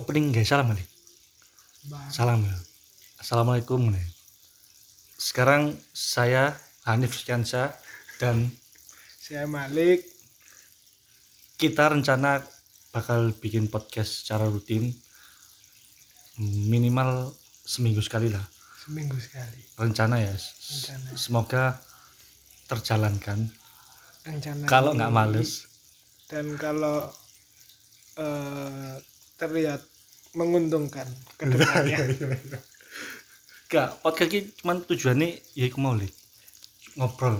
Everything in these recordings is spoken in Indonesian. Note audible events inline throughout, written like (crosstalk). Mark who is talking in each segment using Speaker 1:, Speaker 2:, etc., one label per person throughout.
Speaker 1: opening guys salam kali salam ya assalamualaikum nih sekarang saya Hanif Syansa dan
Speaker 2: Saya Malik.
Speaker 1: kita rencana bakal bikin podcast secara rutin minimal seminggu sekali lah
Speaker 2: Seminggu sekali.
Speaker 1: rencana ya S-
Speaker 2: Rencana.
Speaker 1: semoga terjalankan
Speaker 2: Rencana.
Speaker 1: kalau nggak
Speaker 2: ini.
Speaker 1: males
Speaker 2: Dan kalau eh, terlihat menguntungkan ke
Speaker 1: (laughs)
Speaker 2: depannya.
Speaker 1: Gak, podcast ini cuman tujuannya ya aku mau Li. ngobrol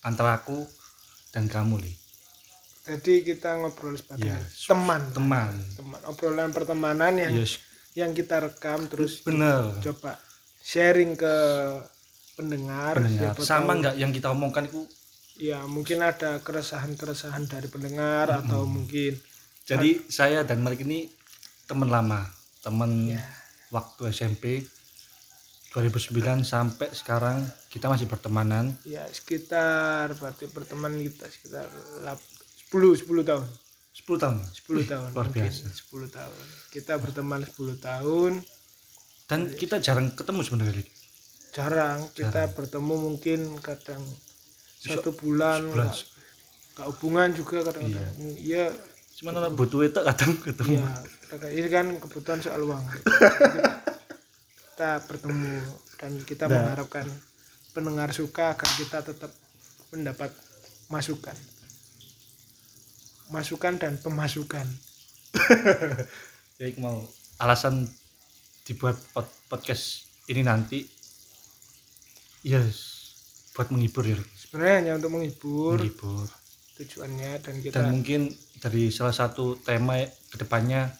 Speaker 1: antara aku dan kamu li
Speaker 2: Jadi kita ngobrol sebagai
Speaker 1: Ya,
Speaker 2: teman.
Speaker 1: teman Ya,
Speaker 2: Teman. Obrolan pertemanan yang
Speaker 1: yes
Speaker 2: yang kita rekam terus
Speaker 1: bener
Speaker 2: coba sharing ke pendengar.
Speaker 1: pendengar
Speaker 2: Siapa
Speaker 1: sama
Speaker 2: tahu-
Speaker 1: nggak yang kita omongkan itu
Speaker 2: Ya mungkin ada keresahan-keresahan dari pendengar
Speaker 1: Hmm.
Speaker 2: atau mungkin
Speaker 1: jadi Kan saya dan Malik ini teman lama teman
Speaker 2: Ya.
Speaker 1: waktu SMP 2009 sampai sekarang kita masih pertemanan
Speaker 2: ya sekitar berarti berteman kita sekitar lap- 10 10 tahun
Speaker 1: 10 tahun
Speaker 2: 10
Speaker 1: Wih,
Speaker 2: tahun
Speaker 1: luar
Speaker 2: mungkin.
Speaker 1: biasa
Speaker 2: 10 tahun kita berteman 10 tahun
Speaker 1: dan kita jarang ketemu sebenarnya Li.
Speaker 2: jarang kita bertemu mungkin kadang satu bulan
Speaker 1: sebulan.
Speaker 2: nggak- nggak hubungan juga kadang-kadang iya
Speaker 1: cuman orang butuh itu kadang (laughs) ketemu
Speaker 2: ya kadang- ini kan kebutuhan
Speaker 1: (laughs)
Speaker 2: soal uang kita bertemu dan kita
Speaker 1: Nah.
Speaker 2: mengharapkan pendengar suka agar kita tetap mendapat masukan masukan dan pemasukan
Speaker 1: ya aku mau alasan dibuat pod- podcast ini nanti yes buat menghibur ya Rik.
Speaker 2: sebenarnya hanya untuk menghibur
Speaker 1: menghibur
Speaker 2: tujuannya dan kita
Speaker 1: Iya. dan mungkin dari salah satu tema kedepannya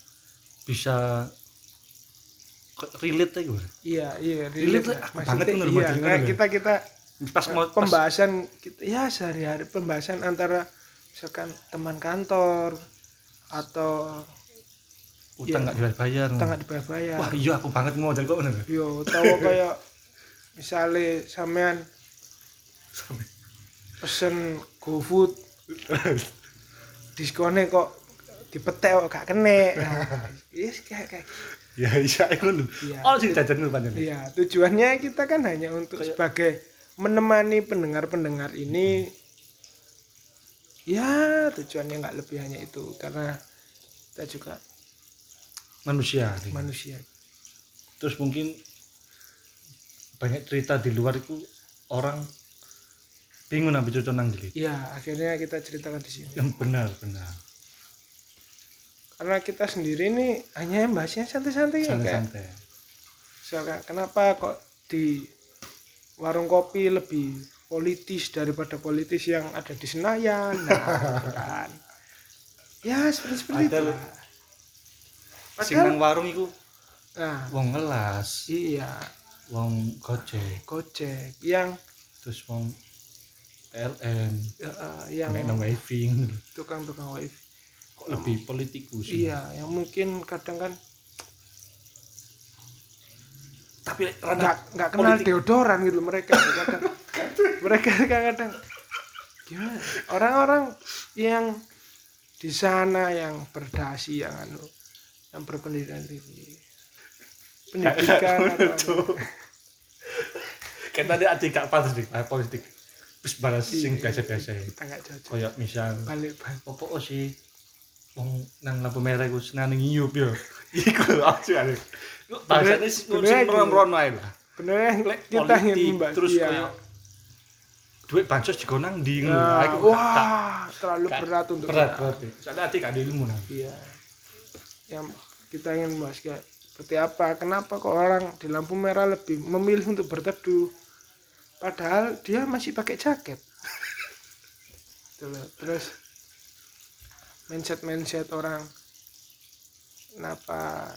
Speaker 1: bisa kok relate ya gue
Speaker 2: iya iya
Speaker 1: Relate
Speaker 2: relate
Speaker 1: lah,
Speaker 2: lah.
Speaker 1: aku banget
Speaker 2: Maksudnya,
Speaker 1: bener,
Speaker 2: iya
Speaker 1: Mas.
Speaker 2: karena kita kita
Speaker 1: pas mau pas,
Speaker 2: pembahasan kita ya sehari-hari pembahasan antara misalkan teman kantor atau
Speaker 1: iya. utang nggak dibayar
Speaker 2: tengah dibayar
Speaker 1: wah iya aku banget mau dari kok bener nggak?
Speaker 2: yo tahu kayak misalnya sampean pesen GoFood
Speaker 1: (laughs)
Speaker 2: diskonnya kok dipetek kok gak
Speaker 1: (laughs)
Speaker 2: kene nah, yes, kayak kayak
Speaker 1: ya iya aku lu
Speaker 2: Iya.
Speaker 1: oh sih jajan lu panjang
Speaker 2: Iya, tujuannya kita kan hanya untuk sebagai menemani pendengar-pendengar ini. Ya, tujuannya nggak lebih hanya itu karena kita juga
Speaker 1: manusia Rik.
Speaker 2: manusia.
Speaker 1: terus mungkin banyak cerita di luar itu orang bingung nabi cocok nang jeli.
Speaker 2: Ya, akhirnya kita ceritakan di sini.
Speaker 1: yang benar benar
Speaker 2: Karena kita sendiri ini hanya bahasnya santai-santai ya,
Speaker 1: santai
Speaker 2: kayak
Speaker 1: santai
Speaker 2: misalkan, kenapa kok di warung kopi lebih politis daripada politis yang ada di Senayan. Nah, gitu kan. Ya, seperti seperti itu.
Speaker 1: Padahal-
Speaker 2: lah.
Speaker 1: sing
Speaker 2: Padahal-
Speaker 1: nang warung itu
Speaker 2: Nah,
Speaker 1: wong ngelas
Speaker 2: Iya,
Speaker 1: wong gojek
Speaker 2: Gojek yang
Speaker 1: terus wong LN
Speaker 2: eh,
Speaker 1: yang
Speaker 2: yang
Speaker 1: nang waving
Speaker 2: tukang-tukang wifi.
Speaker 1: kok lebih politikus
Speaker 2: Iya, yang mungkin kadang kan
Speaker 1: tapi
Speaker 2: nggak
Speaker 1: rada
Speaker 2: nggak kenal
Speaker 1: politik.
Speaker 2: deodoran gitu (laughs) mereka kadang mereka kadang-kadang gimana? Orang-orang yang di sana yang berdasi yang anu yang berpendidikan tinggi pendidikan atau
Speaker 1: kan tadi adik gak pantas dik ah, politik terus balas sing
Speaker 2: Iya.
Speaker 1: biasa-biasa
Speaker 2: kita nggak cocok
Speaker 1: koyok misal
Speaker 2: balik balik
Speaker 1: opo sih wong nang lampu merah ku seneng ngiyup yo (laughs) iku aja ale bahasane
Speaker 2: Bener-
Speaker 1: sing meron-meron wae lah
Speaker 2: benernya
Speaker 1: lek
Speaker 2: kita ingin
Speaker 1: politik
Speaker 2: membahas
Speaker 1: terus
Speaker 2: iya.
Speaker 1: koyo duit bansos juga nang di ngono
Speaker 2: Nah,
Speaker 1: aku gak-
Speaker 2: wah terlalu
Speaker 1: gak-
Speaker 2: berat untuk
Speaker 1: berat
Speaker 2: kita.
Speaker 1: berat soalnya ati gak ada ilmu nang
Speaker 2: Iya. Yang kita ingin bahas kayak seperti apa? Kenapa kok orang di lampu merah lebih memilih untuk berteduh? Padahal dia masih pakai jaket. (laughs) Gitu loh. Terus mindset-mindset orang kenapa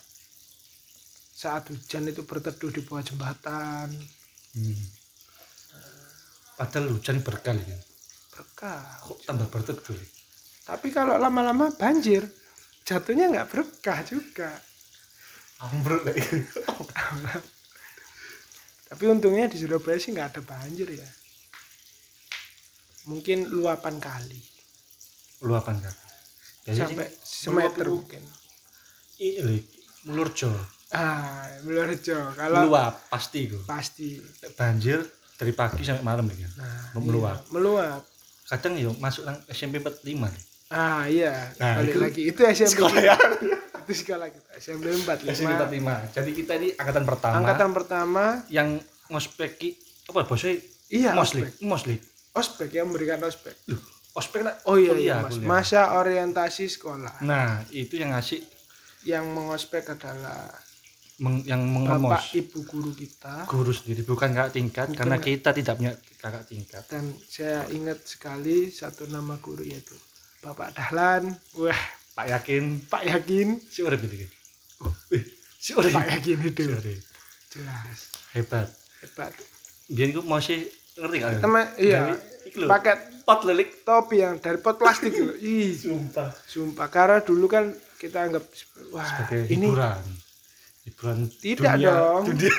Speaker 2: saat hujan itu berteduh di bawah jembatan
Speaker 1: Hmm. padahal hujan berkah ya
Speaker 2: berkah
Speaker 1: kok tambah berteduh ya?
Speaker 2: tapi kalau lama-lama banjir jatuhnya nggak berkah juga
Speaker 1: ambruk lek
Speaker 2: Tapi untungnya di Surabaya sih nggak ada banjir ya. Mungkin luapan kali
Speaker 1: luapan kan Biasanya
Speaker 2: sampai
Speaker 1: sih meluap
Speaker 2: semeter
Speaker 1: itu
Speaker 2: mungkin.
Speaker 1: ini lho, Mulurjo,
Speaker 2: ah Mulyorejo kalau
Speaker 1: meluap pasti iku.
Speaker 2: pasti
Speaker 1: Banjir dari pagi sampai malam iki.
Speaker 2: nah
Speaker 1: Meluap.
Speaker 2: iya. meluap
Speaker 1: Kadang yo masuk nang SMP 45. nih.
Speaker 2: ah iya
Speaker 1: Nah,
Speaker 2: balik
Speaker 1: itu-
Speaker 2: lagi itu SMP
Speaker 1: Sekolah ya.
Speaker 2: itu sekolah kita SMP 4
Speaker 1: SMP 45. Jadi kita ini angkatan pertama
Speaker 2: angkatan pertama
Speaker 1: yang ngospeki apa bosnya
Speaker 2: iya
Speaker 1: moslik,
Speaker 2: ospek
Speaker 1: moslik.
Speaker 2: ospek yang memberikan ospek
Speaker 1: Loh, ospek nak
Speaker 2: oh iya iya
Speaker 1: Kuliah,
Speaker 2: mas
Speaker 1: kuliah.
Speaker 2: masa orientasi sekolah
Speaker 1: Nah, itu yang ngasih
Speaker 2: yang mengospek adalah
Speaker 1: meng- yang
Speaker 2: bapak
Speaker 1: mengemos
Speaker 2: ibu guru kita
Speaker 1: guru sendiri bukan kakak tingkat
Speaker 2: Bukan
Speaker 1: karena
Speaker 2: kak-
Speaker 1: kita tidak punya kakak tingkat.
Speaker 2: dan saya ingat sekali satu nama guru yaitu Bapak Dahlan wah
Speaker 1: Pak yakin
Speaker 2: Pak Yakin
Speaker 1: si urip gitu.
Speaker 2: Oh, eh,
Speaker 1: Wih, si urip.
Speaker 2: Pak Yakin itu
Speaker 1: Si urip.
Speaker 2: jelas
Speaker 1: Hebat.
Speaker 2: hebat
Speaker 1: Biar gue mau sih ngerti kan?
Speaker 2: teman iya
Speaker 1: Pakai
Speaker 2: paket
Speaker 1: pot lelik.
Speaker 2: topi yang dari pot
Speaker 1: (laughs)
Speaker 2: plastik itu ih
Speaker 1: Sumpah.
Speaker 2: sumpah karena dulu kan kita anggap wah
Speaker 1: Sebagai
Speaker 2: ini
Speaker 1: hiburan. Hiburan
Speaker 2: Tidak
Speaker 1: dunia,
Speaker 2: dong.
Speaker 1: Dunia,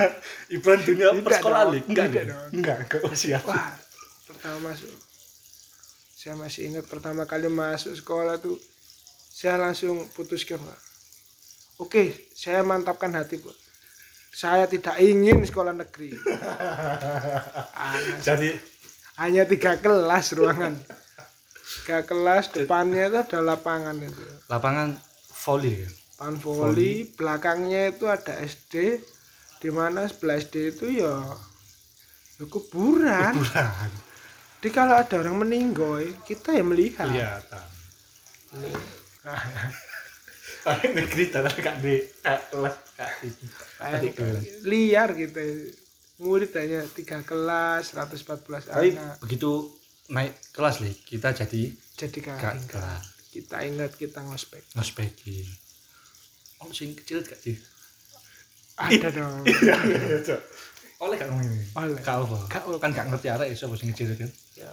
Speaker 1: hiburan dunia
Speaker 2: Tidak
Speaker 1: persekolahan.
Speaker 2: dong,
Speaker 1: Lik. Enggak,
Speaker 2: tidak
Speaker 1: enggak,
Speaker 2: dong.
Speaker 1: enggak, enggak masih aku.
Speaker 2: wah pertama masuk saya masih ingat pertama kali masuk sekolah tuh saya langsung putuskan Pak. oke saya mantapkan hati bu saya tidak ingin sekolah negeri Ah,
Speaker 1: Jadi
Speaker 2: hanya tiga kelas ruangan tiga kelas depannya itu ada lapangan itu
Speaker 1: lapangan volley ya.
Speaker 2: pan voli belakangnya itu ada SD di mana sebelah SD itu ya ya kuburan
Speaker 1: Hiburan.
Speaker 2: jadi kalau ada orang meninggoy kita ya melihat
Speaker 1: Kelihatan.
Speaker 2: Nah,
Speaker 1: (laughs) Tapi negeri tanah kak di kak les kak itu.
Speaker 2: kayak
Speaker 1: Adik kelas.
Speaker 2: liar gitu murid hanya tiga kelas 114
Speaker 1: Tapi
Speaker 2: anak
Speaker 1: begitu naik kelas nih kita jadi
Speaker 2: jadi
Speaker 1: kak
Speaker 2: kakak
Speaker 1: kelas
Speaker 2: kita ingat kita ngospek
Speaker 1: ngospeki. Oh sing kecil gak sih?
Speaker 2: ada
Speaker 1: (laughs)
Speaker 2: dong
Speaker 1: Iya, Oleh gak ngomong ini?
Speaker 2: Oleh.
Speaker 1: Kak apa?
Speaker 2: Gak apa.
Speaker 1: Kan gak ngerti arah ya siapa sing kecil kan?
Speaker 2: Ya.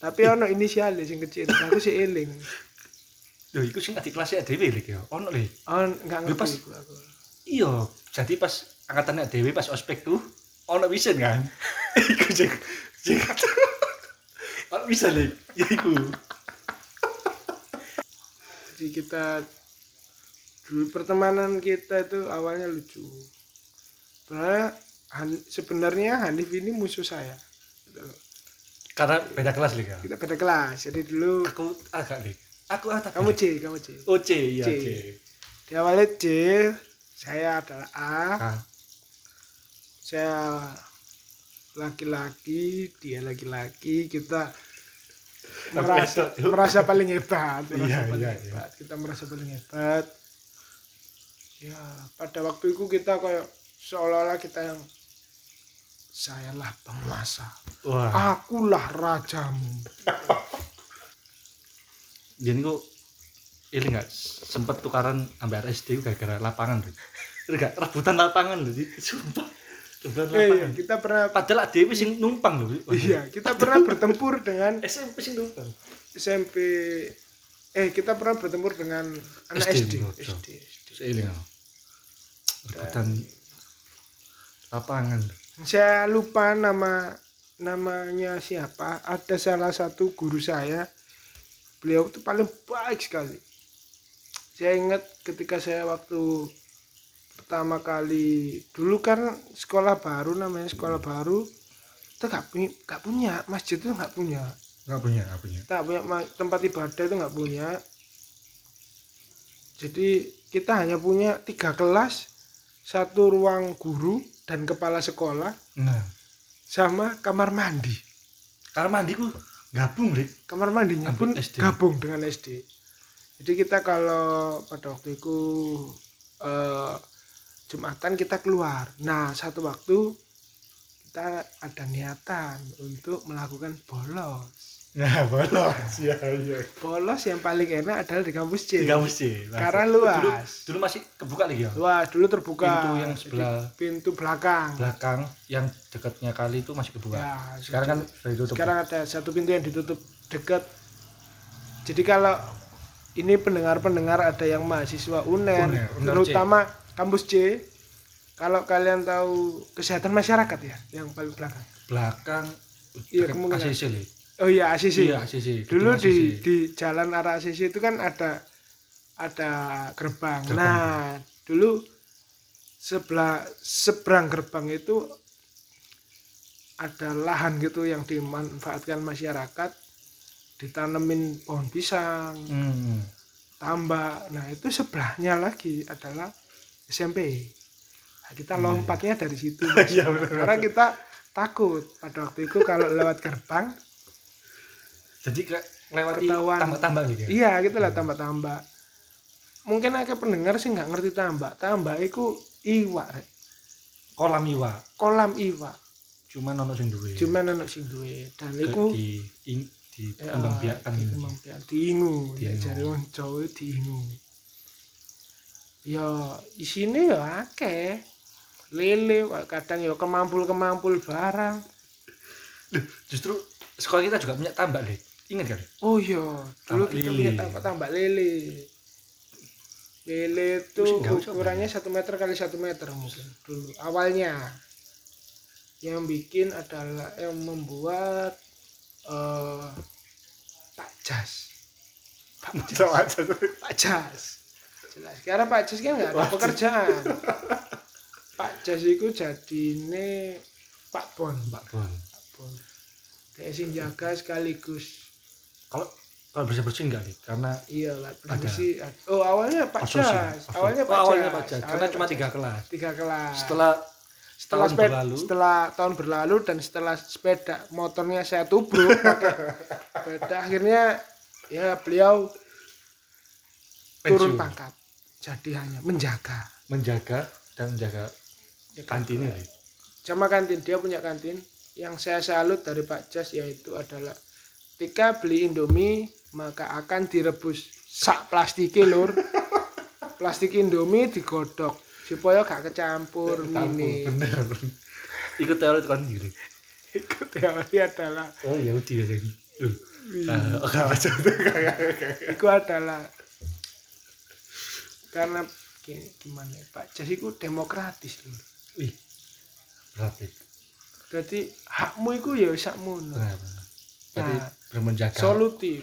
Speaker 2: tapi ono inisialnya sing kecil aku sih eling
Speaker 1: Loh, iku sing adik kelasnya dhewe lho ya. Ono lho.
Speaker 2: on nggak
Speaker 1: Lu pas-
Speaker 2: ngerti aku, aku.
Speaker 1: Iya, jadi pas angkatannya dhewe pas ospek tuh ono wisen kan. (laughs) Iku sing sing Ono wisen lho. Ya iku.
Speaker 2: Jadi kita dulu pertemanan kita itu awalnya lucu. Sebenarnya Han- sebenarnya Hanif ini musuh saya. Gitu loh.
Speaker 1: Karena beda kelas lho kan.
Speaker 2: Kita beda kelas. Jadi dulu
Speaker 1: Aku agak lho. Aku agak.
Speaker 2: kamu C, kamu C.
Speaker 1: OC iya
Speaker 2: C.
Speaker 1: C.
Speaker 2: Di awalnya C, saya adalah A,
Speaker 1: Ah,
Speaker 2: saya laki-laki, dia laki-laki, kita
Speaker 1: Tapi
Speaker 2: merasa
Speaker 1: itu-
Speaker 2: merasa paling hebat, merasa
Speaker 1: Iya,
Speaker 2: paling
Speaker 1: iya, iya.
Speaker 2: hebat. Kita merasa paling hebat. Ya, pada waktu itu kita kayak seolah-olah kita yang sayalah penguasa,
Speaker 1: Wah.
Speaker 2: akulah rajamu.
Speaker 1: Jadi kok ini nggak sempet tukaran ambil RSD itu gara-gara lapangan tuh. Ini nggak rebutan lapangan loh, Ji. sumpah. Rebutan
Speaker 2: Eh, iya,
Speaker 1: lapangan.
Speaker 2: kita pernah
Speaker 1: Padahal Dewi sing numpang loh. Ji. Waduh.
Speaker 2: iya, kita pernah bertempur dengan
Speaker 1: SMP sing numpang.
Speaker 2: SMP eh kita pernah bertempur dengan anak
Speaker 1: SD,
Speaker 2: SD.
Speaker 1: betul.
Speaker 2: SD.
Speaker 1: Terus gitu. ini loh. Rebutan lapangan.
Speaker 2: saya lupa nama namanya siapa ada salah satu guru saya beliau itu paling baik sekali saya ingat ketika saya waktu pertama kali dulu kan sekolah baru namanya sekolah baru kita nggak punya nggak punya masjid itu nggak punya
Speaker 1: Nggak punya, nggak punya.
Speaker 2: kita nggak punya ma- tempat ibadah itu nggak punya jadi kita hanya punya tiga kelas satu ruang guru dan kepala sekolah
Speaker 1: Nah,
Speaker 2: sama kamar mandi.
Speaker 1: karena mandi ku gabung Rik.
Speaker 2: Kamar mandinya
Speaker 1: Ambil
Speaker 2: pun
Speaker 1: SD.
Speaker 2: gabung dengan SD. Jadi kita kalau pada waktu itu eh, Jumatan kita keluar. Nah, satu waktu kita ada niatan untuk melakukan bolos.
Speaker 1: Nah, bolos. Iya, iya.
Speaker 2: Bolos yang paling enak adalah di kampus C.
Speaker 1: Di kampus sih.
Speaker 2: Karena
Speaker 1: Dulu,
Speaker 2: luas.
Speaker 1: dulu masih kebuka lagi ya.
Speaker 2: Wah, dulu terbuka.
Speaker 1: Pintu yang
Speaker 2: Jadi
Speaker 1: sebelah.
Speaker 2: pintu belakang.
Speaker 1: belakang yang dekatnya kali itu masih kebuka.
Speaker 2: Ya,
Speaker 1: sekarang kan sudah ditutup.
Speaker 2: sekarang ada satu pintu yang ditutup dekat jadi kalau ini pendengar-pendengar ada yang mahasiswa UNER,
Speaker 1: UNER, UNER C.
Speaker 2: terutama kampus C kalau kalian tahu kesehatan masyarakat ya yang paling belakang
Speaker 1: belakang
Speaker 2: Iya,
Speaker 1: dekat
Speaker 2: kemungkinan.
Speaker 1: ACC lih.
Speaker 2: oh iya ACC
Speaker 1: Iya, ACC.
Speaker 2: dulu
Speaker 1: Gedung
Speaker 2: di
Speaker 1: ACC.
Speaker 2: di jalan arah ACC itu kan ada ada gerbang.
Speaker 1: Gerbang.
Speaker 2: Nah, dulu sebelah seberang gerbang itu ada lahan gitu yang dimanfaatkan masyarakat ditanemin pohon pisang
Speaker 1: Hmm.
Speaker 2: tambak nah itu sebelahnya lagi adalah SMP nah, kita
Speaker 1: Iya,
Speaker 2: lompatnya dari situ Mas.
Speaker 1: (laughs) Iya, benar,
Speaker 2: karena kita takut pada waktu itu kalau lewat gerbang
Speaker 1: Jadi kayak lewati
Speaker 2: Ketahuan.
Speaker 1: tambak-tambak gitu ya.
Speaker 2: Iya, gitu lah tambah-tambah. Mungkin akeh pendengar sih nggak ngerti tambak. Tambak itu iwak, Rek.
Speaker 1: Kolam iwa,
Speaker 2: kolam iwak.
Speaker 1: cuman ono sing duwe.
Speaker 2: Cuma anak sing duwe dan
Speaker 1: Ke-
Speaker 2: iku eh,
Speaker 1: di ing, di
Speaker 2: Ah,
Speaker 1: kembang biakan gitu.
Speaker 2: Kembang diingu, ya
Speaker 1: Diingu.
Speaker 2: jare wong Jawa diingu. Ya isine ya akeh. Lele kadang ya kemampul-kemampul barang.
Speaker 1: Duh, Justru sekolah kita juga punya tambak deh. Ingat kan?
Speaker 2: Oh iya,
Speaker 1: Tambak
Speaker 2: dulu kita
Speaker 1: lele.
Speaker 2: punya tambak, tambak lele. Lele itu
Speaker 1: Mesti nggak usah,
Speaker 2: ukurannya satu meter kali satu meter mungkin dulu awalnya. Yang bikin adalah yang membuat eh Pak Jas. Pak Jas. Pak Jas. Jelas. Karena Pak Jas kan nggak ada
Speaker 1: Wajib.
Speaker 2: pekerjaan. Pak Jas itu jadine Pak Bon, Pak
Speaker 1: Pak Bon.
Speaker 2: Bon. Dia sing jaga sekaligus
Speaker 1: Kalau kalau bersih bersih enggak deh, karena
Speaker 2: Iya, lah,
Speaker 1: Ada.
Speaker 2: sih. Oh, awalnya Pak
Speaker 1: Asosi,
Speaker 2: Jas.
Speaker 1: asosi.
Speaker 2: Awalnya
Speaker 1: Oh,
Speaker 2: Pak Jas.
Speaker 1: awalnya Pak Jas, karena
Speaker 2: Awalnya
Speaker 1: cuma
Speaker 2: Pak
Speaker 1: tiga
Speaker 2: Jas.
Speaker 1: kelas.
Speaker 2: Tiga kelas.
Speaker 1: Setelah
Speaker 2: setelah
Speaker 1: setahun
Speaker 2: sepeda,
Speaker 1: berlalu,
Speaker 2: setelah tahun berlalu dan setelah sepeda motornya saya tubruk (laughs) pakai sepeda akhirnya ya beliau turun
Speaker 1: pensiun.
Speaker 2: pangkat. Jadi hanya menjaga.
Speaker 1: menjaga dan menjaga
Speaker 2: Ya, kan?
Speaker 1: kantin ini.
Speaker 2: Sama kantin dia punya kantin yang saya salut dari Pak Jas yaitu adalah ketika beli Indomie maka akan direbus sak plastiknya (laughs) lur plastik Indomie digodok supaya gak kecampur
Speaker 1: Tampung,
Speaker 2: ini
Speaker 1: bener. Ikut teori kan gini.
Speaker 2: ikut teori adalah
Speaker 1: Oh ya udah ya jadi. Loh, ah, oke, aja.
Speaker 2: itu adalah karena gi- gimana ya, Pak Jas itu demokratis lur
Speaker 1: Wih, berat ya.
Speaker 2: jadi hakmu itu ya sakmu
Speaker 1: Benar, benar. Berarti
Speaker 2: Nah,
Speaker 1: bermenjaga,
Speaker 2: solutif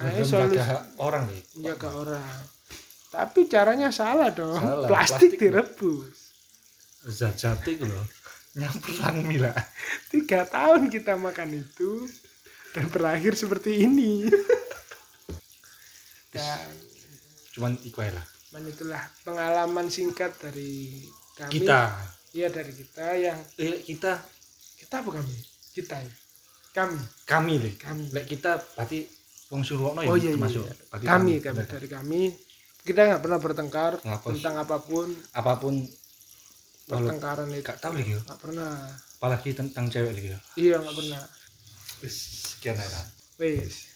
Speaker 1: bermenjaga
Speaker 2: Akhirnya solutif
Speaker 1: orang nih.
Speaker 2: menjaga orang. Iya, Tapi caranya salah dong.
Speaker 1: Salah,
Speaker 2: Plastik,
Speaker 1: plastik.
Speaker 2: direbus.
Speaker 1: Zat zat itu loh, nyampur lang mila.
Speaker 2: Tiga tahun kita makan itu dan berakhir seperti
Speaker 1: (laughs)
Speaker 2: ini. dan
Speaker 1: Cuman iku aja lah.
Speaker 2: man, itulah pengalaman singkat dari kami.
Speaker 1: Kita,
Speaker 2: Iya dari kita yang
Speaker 1: eh, kita,
Speaker 2: kita bukan kita ya. Kami,
Speaker 1: kami deh.
Speaker 2: kami.
Speaker 1: Lek kita berarti Wong Surwono ya
Speaker 2: Oh iya, iya,
Speaker 1: termasuk.
Speaker 2: iya.
Speaker 1: Berarti
Speaker 2: Kami, kami
Speaker 1: Berarti
Speaker 2: dari kami. Kita nggak pernah bertengkar
Speaker 1: Nggak pernah.
Speaker 2: tentang apapun.
Speaker 1: Apapun, Walau-
Speaker 2: Pertengkaran itu
Speaker 1: gak tahu lagi ya.
Speaker 2: nggak pernah.
Speaker 1: Apalagi tentang cewek lagi ya.
Speaker 2: Iya nggak pernah.
Speaker 1: Wis, Sekian aja.
Speaker 2: Wes.